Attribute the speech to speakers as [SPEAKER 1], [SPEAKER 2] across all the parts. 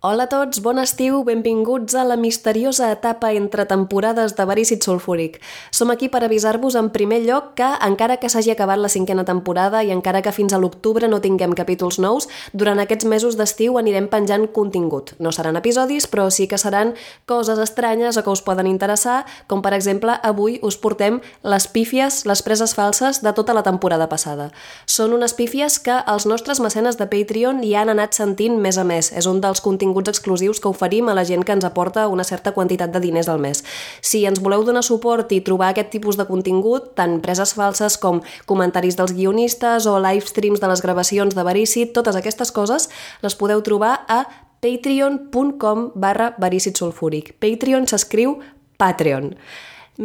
[SPEAKER 1] Hola a tots, bon estiu, benvinguts a la misteriosa etapa entre temporades de Verícid Sulfúric. Som aquí per avisar-vos en primer lloc que, encara que s'hagi acabat la cinquena temporada i encara que fins a l'octubre no tinguem capítols nous, durant aquests mesos d'estiu anirem penjant contingut. No seran episodis, però sí que seran coses estranyes o que us poden interessar, com per exemple avui us portem les pífies, les preses falses de tota la temporada passada. Són unes pífies que els nostres mecenes de Patreon ja han anat sentint més a més. És un dels continguts continguts exclusius que oferim a la gent que ens aporta una certa quantitat de diners al mes. Si ens voleu donar suport i trobar aquest tipus de contingut, tant preses falses com comentaris dels guionistes o livestreams de les gravacions de Verícit, totes aquestes coses les podeu trobar a patreon.com barra sulfúric. Patreon s'escriu Patreon.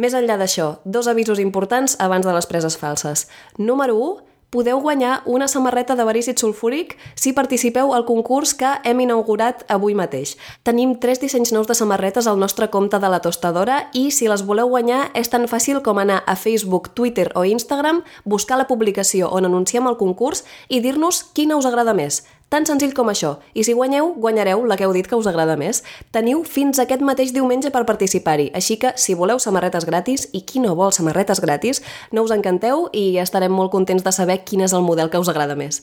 [SPEAKER 1] Més enllà d'això, dos avisos importants abans de les preses falses. Número 1, podeu guanyar una samarreta de verícid sulfúric si participeu al concurs que hem inaugurat avui mateix. Tenim tres dissenys nous de samarretes al nostre compte de la tostadora i si les voleu guanyar és tan fàcil com anar a Facebook, Twitter o Instagram, buscar la publicació on anunciem el concurs i dir-nos quina us agrada més. Tan senzill com això. I si guanyeu, guanyareu la que heu dit que us agrada més. Teniu fins aquest mateix diumenge per participar-hi, així que si voleu samarretes gratis, i qui no vol samarretes gratis, no us encanteu i estarem molt contents de saber quin és el model que us agrada més.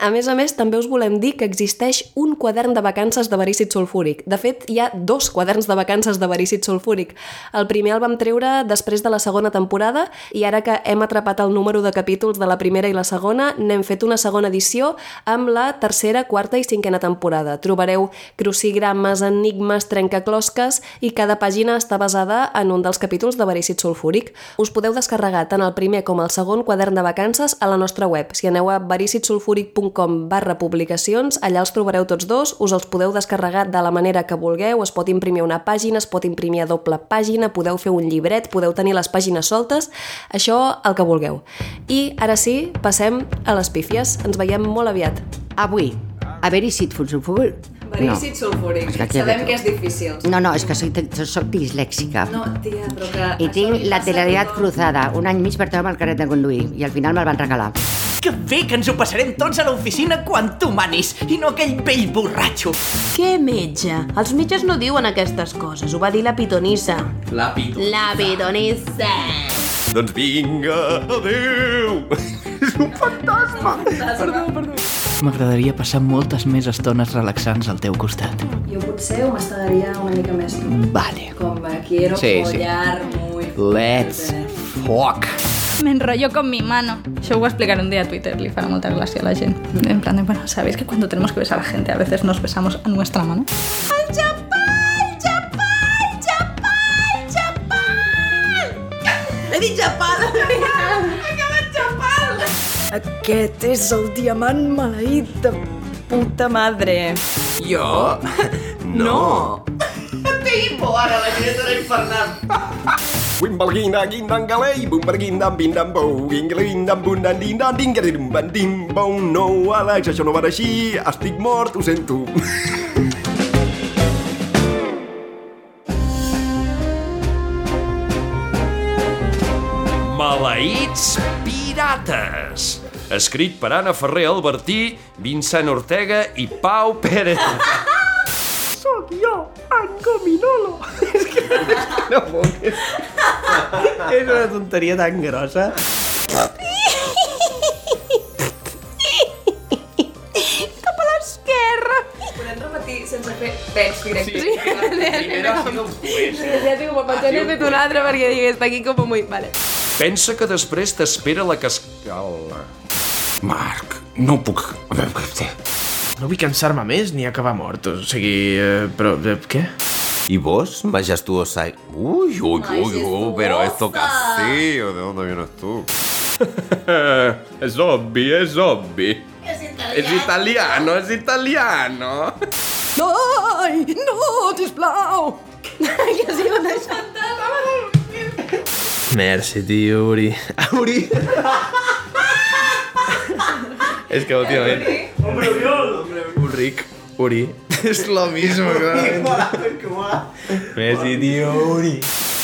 [SPEAKER 1] A més a més, també us volem dir que existeix un quadern de vacances de verícid sulfúric. De fet, hi ha dos quaderns de vacances de verícid sulfúric. El primer el vam treure després de la segona temporada i ara que hem atrapat el número de capítols de la primera i la segona, n'hem fet una segona edició amb la tercera tercera, quarta i cinquena temporada. Trobareu crucigrames, enigmes, trencaclosques i cada pàgina està basada en un dels capítols de Verícid Sulfúric. Us podeu descarregar tant el primer com el segon quadern de vacances a la nostra web. Si aneu a vericidsulfúric.com barra publicacions, allà els trobareu tots dos, us els podeu descarregar de la manera que vulgueu, es pot imprimir una pàgina, es pot imprimir a doble pàgina, podeu fer un llibret, podeu tenir les pàgines soltes, això el que vulgueu. I ara sí, passem a les pífies. Ens veiem molt aviat.
[SPEAKER 2] Avui, a veure si et fots un fugur.
[SPEAKER 1] Verícid sulfúric.
[SPEAKER 2] És que Pues aquí hi ha de
[SPEAKER 1] Sabem
[SPEAKER 2] tot.
[SPEAKER 1] que és difícil.
[SPEAKER 2] No, no, és que soc, soc dislèxica.
[SPEAKER 1] No, tia, però que...
[SPEAKER 2] I
[SPEAKER 1] això
[SPEAKER 2] tinc
[SPEAKER 1] li
[SPEAKER 2] la
[SPEAKER 1] passa a
[SPEAKER 2] telaritat
[SPEAKER 1] tothom.
[SPEAKER 2] cruzada. Un any mig portava amb el carret de conduir i al final me'l van regalar.
[SPEAKER 3] Que bé que ens ho passarem tots a l'oficina quan tu manis, i no aquell vell borratxo.
[SPEAKER 4] Què metge? Els metges no diuen aquestes coses, ho va dir la pitonissa.
[SPEAKER 5] La pito.
[SPEAKER 4] La pitonissa!
[SPEAKER 5] Doncs vinga, adeu!
[SPEAKER 3] M'agradaria passar moltes més estones relaxants al teu costat.
[SPEAKER 1] Jo potser ho mastegaria una mica més.
[SPEAKER 3] Vale.
[SPEAKER 1] Com eh, quiero
[SPEAKER 5] Sí, sí.
[SPEAKER 1] follar muy...
[SPEAKER 5] Let's fuck!
[SPEAKER 6] Me enrollo con mi mano. Yo voy a explicar un día a Twitter, le fará mucha gracia a la gente. En plan de, bueno, ¿sabéis que cuando tenemos que besar a la gente a veces nos besamos a nuestra mano? ¡Al chapal! ¡Chapal! ¡Chapal! ¡Chapal!
[SPEAKER 4] He dit xapada!
[SPEAKER 7] Aquest és el diamant maleït de puta madre.
[SPEAKER 5] Jo? No! Wimbalguina, guindan galei, bumbarguindan, bindan bou, guingalindan, bundan, dindan, dingadirum, bandim, bou, no, Alex, això no va així, estic mort, ho sento.
[SPEAKER 8] Maleïts Pirates escrit per Anna Ferrer Albertí, Vincent Ortega i Pau Pérez.
[SPEAKER 3] És una tonteria tan grossa.
[SPEAKER 1] Podem repetir sense fer pets directes. Sí.
[SPEAKER 4] Ja tinc un patró, n'he fet este un altre perquè dic, està aquí com muy... Vale.
[SPEAKER 8] Pensa que després t'espera la cascala.
[SPEAKER 5] Marc, no puc...
[SPEAKER 9] No vull cansar-me més ni acabar mort, o sigui... Eh, però, eh, què?
[SPEAKER 5] I vos, majestuosa... Ui, ui, ui, ui, però esto casi... ¿De dónde vienes tú?
[SPEAKER 8] és obvi, és obvi. És italiano, és italiano.
[SPEAKER 7] Ai, no, sisplau!
[SPEAKER 9] Merci, tio, Uri. Uri! És que últimament... Hombre, Ric, Uri. És lo mismo, clarament. Merci, tio, Uri.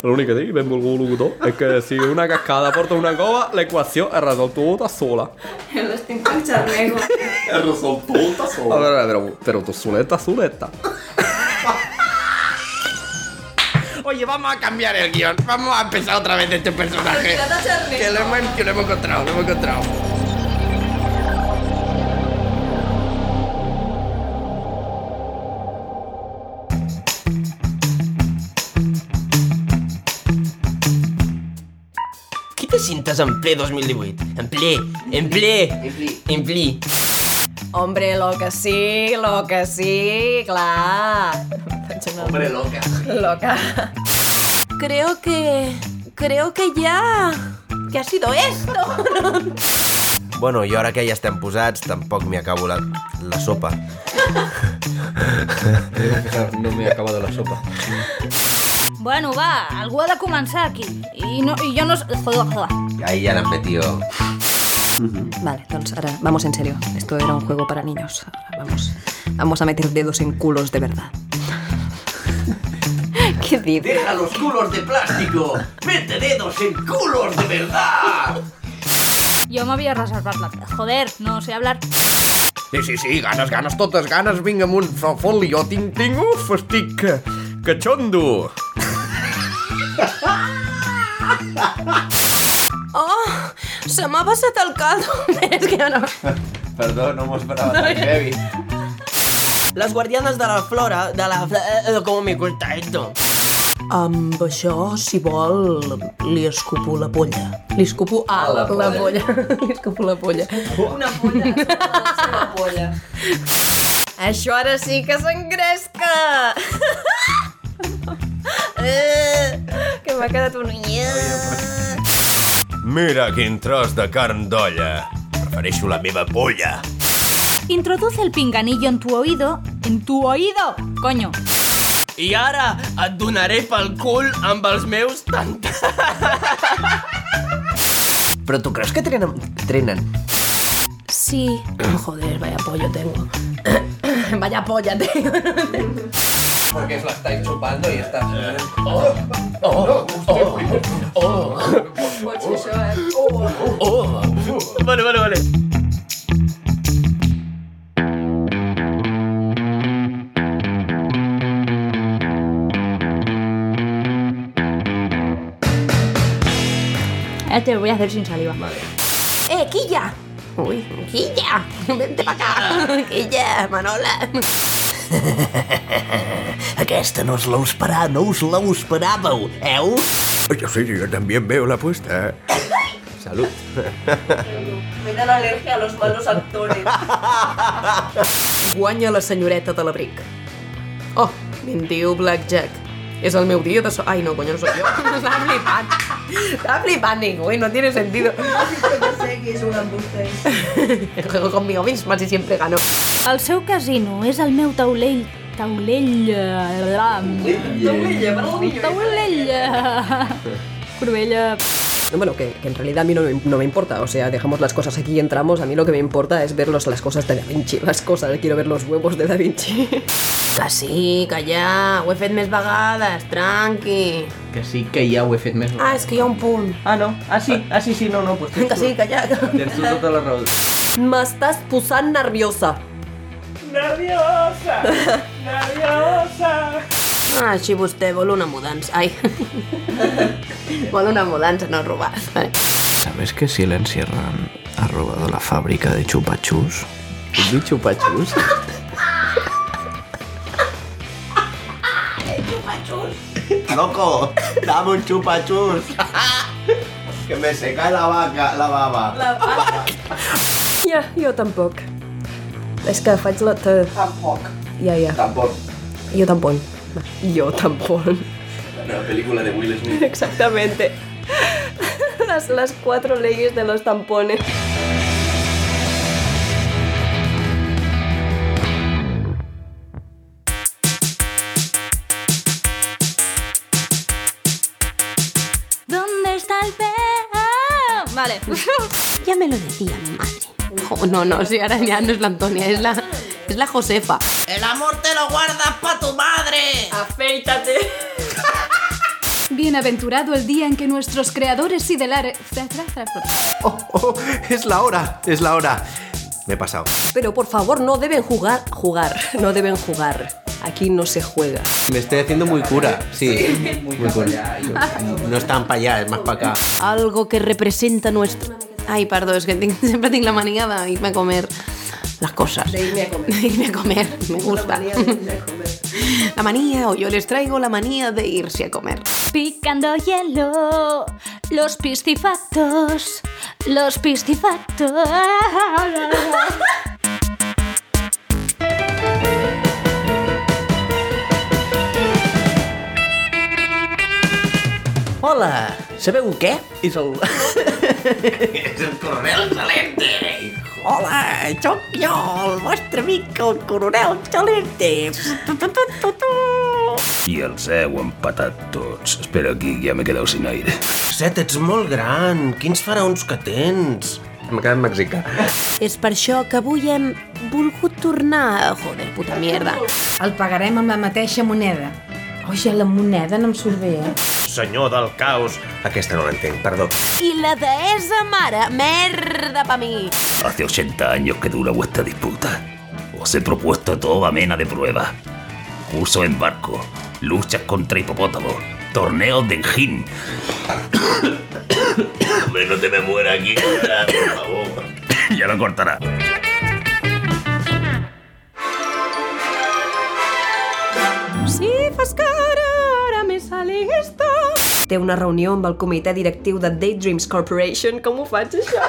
[SPEAKER 8] L'únic que dic, benvolgut locutor, és que si una cascada porta una cova, l'equació és resoltuda sola.
[SPEAKER 1] L'estic fent xarnego.
[SPEAKER 8] És resoltuda sola. A veure, però, però tu soleta, soleta.
[SPEAKER 10] Oye, vamos a cambiar el guión. Vamos a empezar otra vez de este personaje. Que lo hemos, que lo hemos encontrado, lo hemos encontrado.
[SPEAKER 11] Qui te sientes en ple 2018? En ple, en ple, en ple.
[SPEAKER 1] Hombre, lo que sí, lo que sí, clar.
[SPEAKER 11] Hombre, loca.
[SPEAKER 1] Loca.
[SPEAKER 12] Creo que... Creo que ya... ¿Qué ha sido esto?
[SPEAKER 13] Bueno, i ara que ja estem posats, tampoc m'hi acabo la, la sopa.
[SPEAKER 3] No m'he acabat la sopa.
[SPEAKER 6] Bueno, va, algú ha de començar aquí. I, no, i jo no... s- Joder, joder.
[SPEAKER 13] Ahí ja l'han metido.
[SPEAKER 14] Vale, entonces ahora vamos en serio. Esto era un juego para niños. Ahora vamos, vamos a meter dedos en culos de verdad. ¿Qué dices?
[SPEAKER 15] ¡Deja los culos de plástico! ¡Mete dedos en culos de verdad!
[SPEAKER 6] Jo m'havia reservat la... Joder, no sé hablar.
[SPEAKER 10] Sí, sí, sí, ganes, ganes, totes ganes. Vinga, amunt, fo- fot-li. Jo tinc, tinc, uf, estic eh, que- cachondo.
[SPEAKER 12] Oh, se m'ha passat el caldo. És que no...
[SPEAKER 3] Perdó, no m'ho esperava tan heavy.
[SPEAKER 11] Las guardianas de la flora, de la... eh, eh, ¿Cómo me cuenta esto?
[SPEAKER 4] Amb això, si vol, li escupo la polla. Li escupo a
[SPEAKER 12] la
[SPEAKER 4] la
[SPEAKER 12] polla.
[SPEAKER 4] polla. li escupo la polla.
[SPEAKER 12] Una polla. Una polla.
[SPEAKER 1] Això ara sí que s'engresca! Eh, que m'ha quedat un...
[SPEAKER 16] Mira quin tros de carn d'olla. Prefereixo la meva polla.
[SPEAKER 6] Introduce el pinganillo en tu oído. En tu oído, coño.
[SPEAKER 11] I ara et donaré pel cul amb els meus tant...
[SPEAKER 13] Però tu creus que trenen... trenen?
[SPEAKER 4] Sí. Joder, vaya pollo tengo. vaya polla tengo.
[SPEAKER 3] Porque la estáis chupando y está...
[SPEAKER 11] Oh, oh, oh. Oh. Vale, vale, vale.
[SPEAKER 6] Ahora te lo voy a hacer sin saliva.
[SPEAKER 4] ¡Eh, Quilla! Uy. Quilla, vente para acá. Quilla, Manola.
[SPEAKER 17] Aquesta no us l'heu esperat, no us l'heu esperàveu, eh?
[SPEAKER 18] Yo sí, yo también veo la apuesta. Salud.
[SPEAKER 12] Me dan alergia a los malos actores.
[SPEAKER 4] Guanya la senyoreta de l'abric. Oh, 21 Blackjack. És el meu dia de so... Ai, no, coño, no soc jo. Està flipant. Està flipant ningú, eh? no tiene sentido.
[SPEAKER 12] Yo sé que es un embuste.
[SPEAKER 4] El juego conmigo misma si siempre gano.
[SPEAKER 6] El seu casino és el meu taulell... Taulell... eh,
[SPEAKER 4] Taulella,
[SPEAKER 6] Taulell... Taulell... Corbella...
[SPEAKER 19] No, Bueno, que, que en realidad a mí no, me- no me importa, o sea, dejamos las cosas aquí y entramos, a mí lo que me importa es ver los- las cosas de Da Vinci, las cosas, quiero ver los huevos de Da Vinci.
[SPEAKER 4] Que sí, que ja, ho he fet més vegades, tranqui.
[SPEAKER 3] Que sí que ja ho he fet més.
[SPEAKER 4] Ah, és que hi ha un punt.
[SPEAKER 11] Ah, no. Ah, sí. Ah, sí, sí, no, no. Pues
[SPEAKER 4] que sí, que ja...
[SPEAKER 3] Tens tu tota la raó.
[SPEAKER 4] M'estàs posant nerviosa.
[SPEAKER 12] Nerviosa! Nerviosa!
[SPEAKER 4] Ah, si vostè vol una mudança. Ai. vol una mudança, no robar. Vale.
[SPEAKER 3] ¿Sabes que si Len Sierran ha robado la fábrica de chupachus? ¿De chupachus?
[SPEAKER 17] Loco, dame un chupachus. que me se cae la vaca, la baba.
[SPEAKER 1] Ja, jo tampoc. És que faig la... Te... Tampoc. Ja, ja.
[SPEAKER 3] Tampoc.
[SPEAKER 1] Jo tampoc. Jo tampoc.
[SPEAKER 3] La nueva película de Will Smith.
[SPEAKER 1] Exactamente. Las, las cuatro leyes de los tampones.
[SPEAKER 12] ¿Dónde está el perro? Vale.
[SPEAKER 4] Ja me lo decía mi madre. Oh, no, no, sí, ara ja no és l'Antònia, és la, és la Josefa.
[SPEAKER 11] El amor te lo guardas pa tu madre.
[SPEAKER 4] Afeítate.
[SPEAKER 20] Bienaventurado el día en que nuestros creadores ideales...
[SPEAKER 13] Oh, es la hora, es la hora. Me he pasado.
[SPEAKER 14] Pero por favor, no deben jugar, jugar, no deben jugar.
[SPEAKER 1] Aquí no se juega.
[SPEAKER 21] Me estoy haciendo muy cura, sí. Muy cura. No es tan para allá, es más para acá.
[SPEAKER 4] Algo que representa nuestro... Ay, perdó, es que tinc- sempre tinc la mania d'irme a comer las cosas. De irme a comer. De irme a comer, me gusta. La manía, o yo les traigo la manía de irse a comer.
[SPEAKER 22] Picando hielo, los piscifactos, los piscifactos.
[SPEAKER 23] Hola, sabeu què? És el...
[SPEAKER 21] Es el coronel Salente.
[SPEAKER 23] Hola, sóc jo, el vostre amic, el coronel Chalente.
[SPEAKER 24] I els heu empatat tots. Espera aquí, ja m'he quedat sin aire.
[SPEAKER 21] Set, ets molt gran. Quins faraons que tens? M'ha quedat mexicà.
[SPEAKER 4] És per això que avui hem volgut tornar... Joder, puta mierda.
[SPEAKER 25] El pagarem amb la mateixa moneda. Oye, la moneda no em surt bé, eh?
[SPEAKER 16] Senyor del caos. Aquesta no l'entenc, perdó.
[SPEAKER 4] I la deessa mare, merda pa mi.
[SPEAKER 24] Hace 80 años que dura vuestra disputa. Os he propuesto toda mena de pruebas. Cursos en barco, luchas contra hipopótamos, torneos de enjín. Hombre, no te me muera aquí, por favor. ya lo cortará.
[SPEAKER 1] Si fas cara, ara me sale esto. Té una reunió amb el comitè directiu de Daydreams Corporation. Com ho faig, això?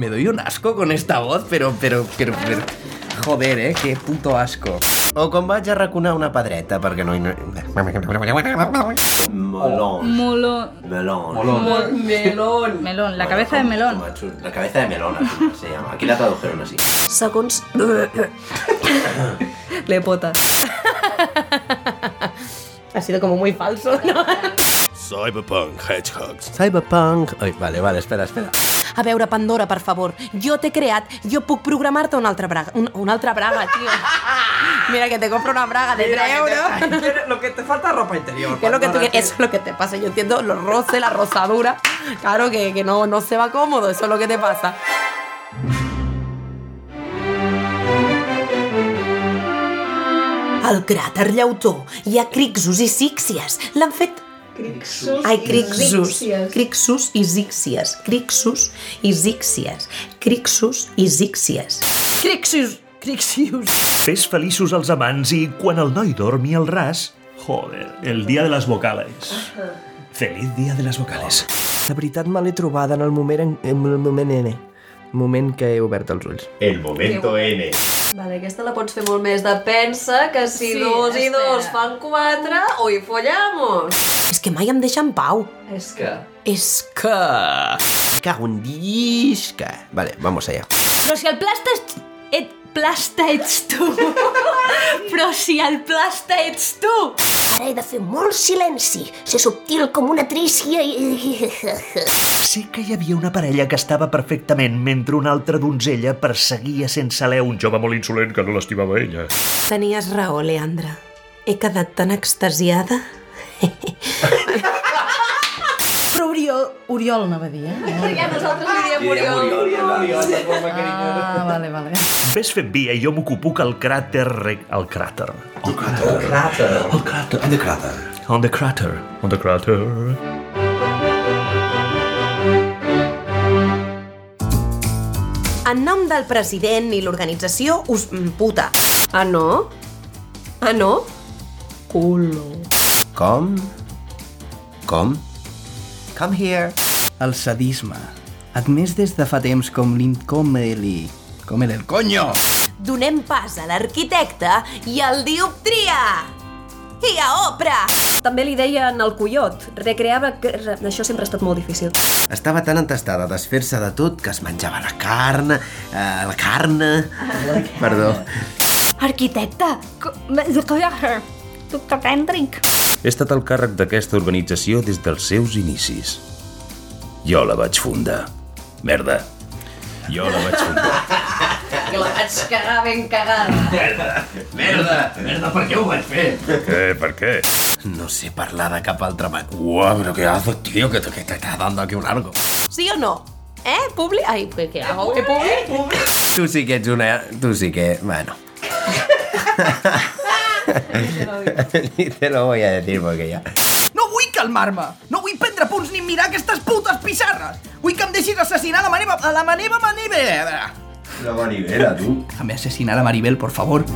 [SPEAKER 23] Me doy un asco con esta voz, pero, pero, pero, pero... Joder, eh, qué puto asco.
[SPEAKER 16] O quan vaig a raconar una pedreta, perquè no... hi- no... Melón.
[SPEAKER 6] Molo.
[SPEAKER 21] Melón.
[SPEAKER 6] Mol-
[SPEAKER 1] Melón.
[SPEAKER 6] Melón, la cabeza de melón.
[SPEAKER 21] La cabeza de melón, al final se llama. Aquí la tradujeron así.
[SPEAKER 1] Segons... Le pota.
[SPEAKER 26] Ha sido como muy falso, ¿no?
[SPEAKER 27] Cyberpunk Hedgehogs.
[SPEAKER 16] Cyberpunk... Ai, vale, vale, espera, espera.
[SPEAKER 4] A veure, Pandora, per favor, jo t'he creat, jo puc programar-te una altra braga. Un, una altra braga, tio. Mira, que te compro una braga de 3 euros.
[SPEAKER 23] Lo que te falta es ropa interior.
[SPEAKER 4] Que es lo que tú quieres, eso es lo que te pasa. Yo entiendo los roces, la rozadura. Claro que, que no, no se va cómodo, eso es lo que te pasa. Al cràter llautó hi ha crixus i síxies. L'han fet... Crixus Ai, crixus. Crixus i síxies. Crixus i síxies. Crixus i síxies. Crixus! Crixius!
[SPEAKER 10] Fes feliços els amants i quan el noi dormi al ras... Joder, el dia de les vocales. Feliz dia de les vocales.
[SPEAKER 23] La veritat me l'he trobada en el moment, en, en el moment N. Moment que he obert els ulls.
[SPEAKER 27] El momento N.
[SPEAKER 1] Vale, aquesta la pots fer molt més de pensa que si
[SPEAKER 4] Sí,
[SPEAKER 1] dos i
[SPEAKER 4] espera.
[SPEAKER 1] dos fan quatre, hoy follamos.
[SPEAKER 4] És que mai em deixen pau.
[SPEAKER 1] És que...
[SPEAKER 4] És que...
[SPEAKER 16] Cago en disca. Vale, vamos allá.
[SPEAKER 28] Però si el plasta ets... Et plasta ets tu. Però si el plasta ets tu.
[SPEAKER 29] Ara he de fer molt silenci, ser subtil com una trícia i...
[SPEAKER 10] Sé que hi havia una parella que estava perfectament mentre una altra donzella perseguia sense alè un jove molt insolent que no l'estimava ella.
[SPEAKER 4] Tenies raó, Leandra. He quedat tan extasiada.
[SPEAKER 25] Però Oriol, Oriol anava a dir, eh?
[SPEAKER 1] Ja nosaltres li diem Oriol.
[SPEAKER 25] Ah, vale, vale.
[SPEAKER 10] Ves fent via i jo m'ocupo que el cràter... Re... El cràter. El cràter. El cràter. El cràter. On the cràter. On the cràter. On the cràter.
[SPEAKER 4] En nom del president i l'organització us mm, puta. Ah, no? Ah, no? Culo.
[SPEAKER 16] Com? Com?
[SPEAKER 23] Come here. El sadisme. Admès des de fa temps com l'incomeli. Com el el coño!
[SPEAKER 4] Donem pas a l'arquitecte i al dioptria! I a Oprah!
[SPEAKER 1] També li deien el coiot. Recreava... que- re- Això sempre ha estat molt difícil.
[SPEAKER 16] Estava tan entestada a desfer-se de tot que es menjava la carn, eh, la carn... Perdó.
[SPEAKER 28] Arquitecte. co- Doctor Kendrick.
[SPEAKER 24] He estat al càrrec d'aquesta organització des dels seus inicis. Jo la vaig fundar. Merda. Jo la vaig fundar.
[SPEAKER 1] Que la vaig cagar ben cagada.
[SPEAKER 27] Merda, merda, merda, per què ho vaig fer?
[SPEAKER 24] Què? Eh, Per què?
[SPEAKER 16] No sé parlar de cap altra manera. Uau, però què haces, tío? Que te, que te estás dando aquí un arco.
[SPEAKER 4] Sí o no? Eh, Publi? Ai, què, què hago? Eh, Publi?
[SPEAKER 16] Tu sí que ets una... Tu sí que... Bueno. Ni te lo voy a decir porque ya...
[SPEAKER 3] No vull calmar-me! No vull prendre punts ni mirar aquestes putes pissarres! Vull que em deixis assassinar la maneva... la maneva maneva!
[SPEAKER 16] La manivela, tu.
[SPEAKER 30] També assassinar a Maribel, por favor.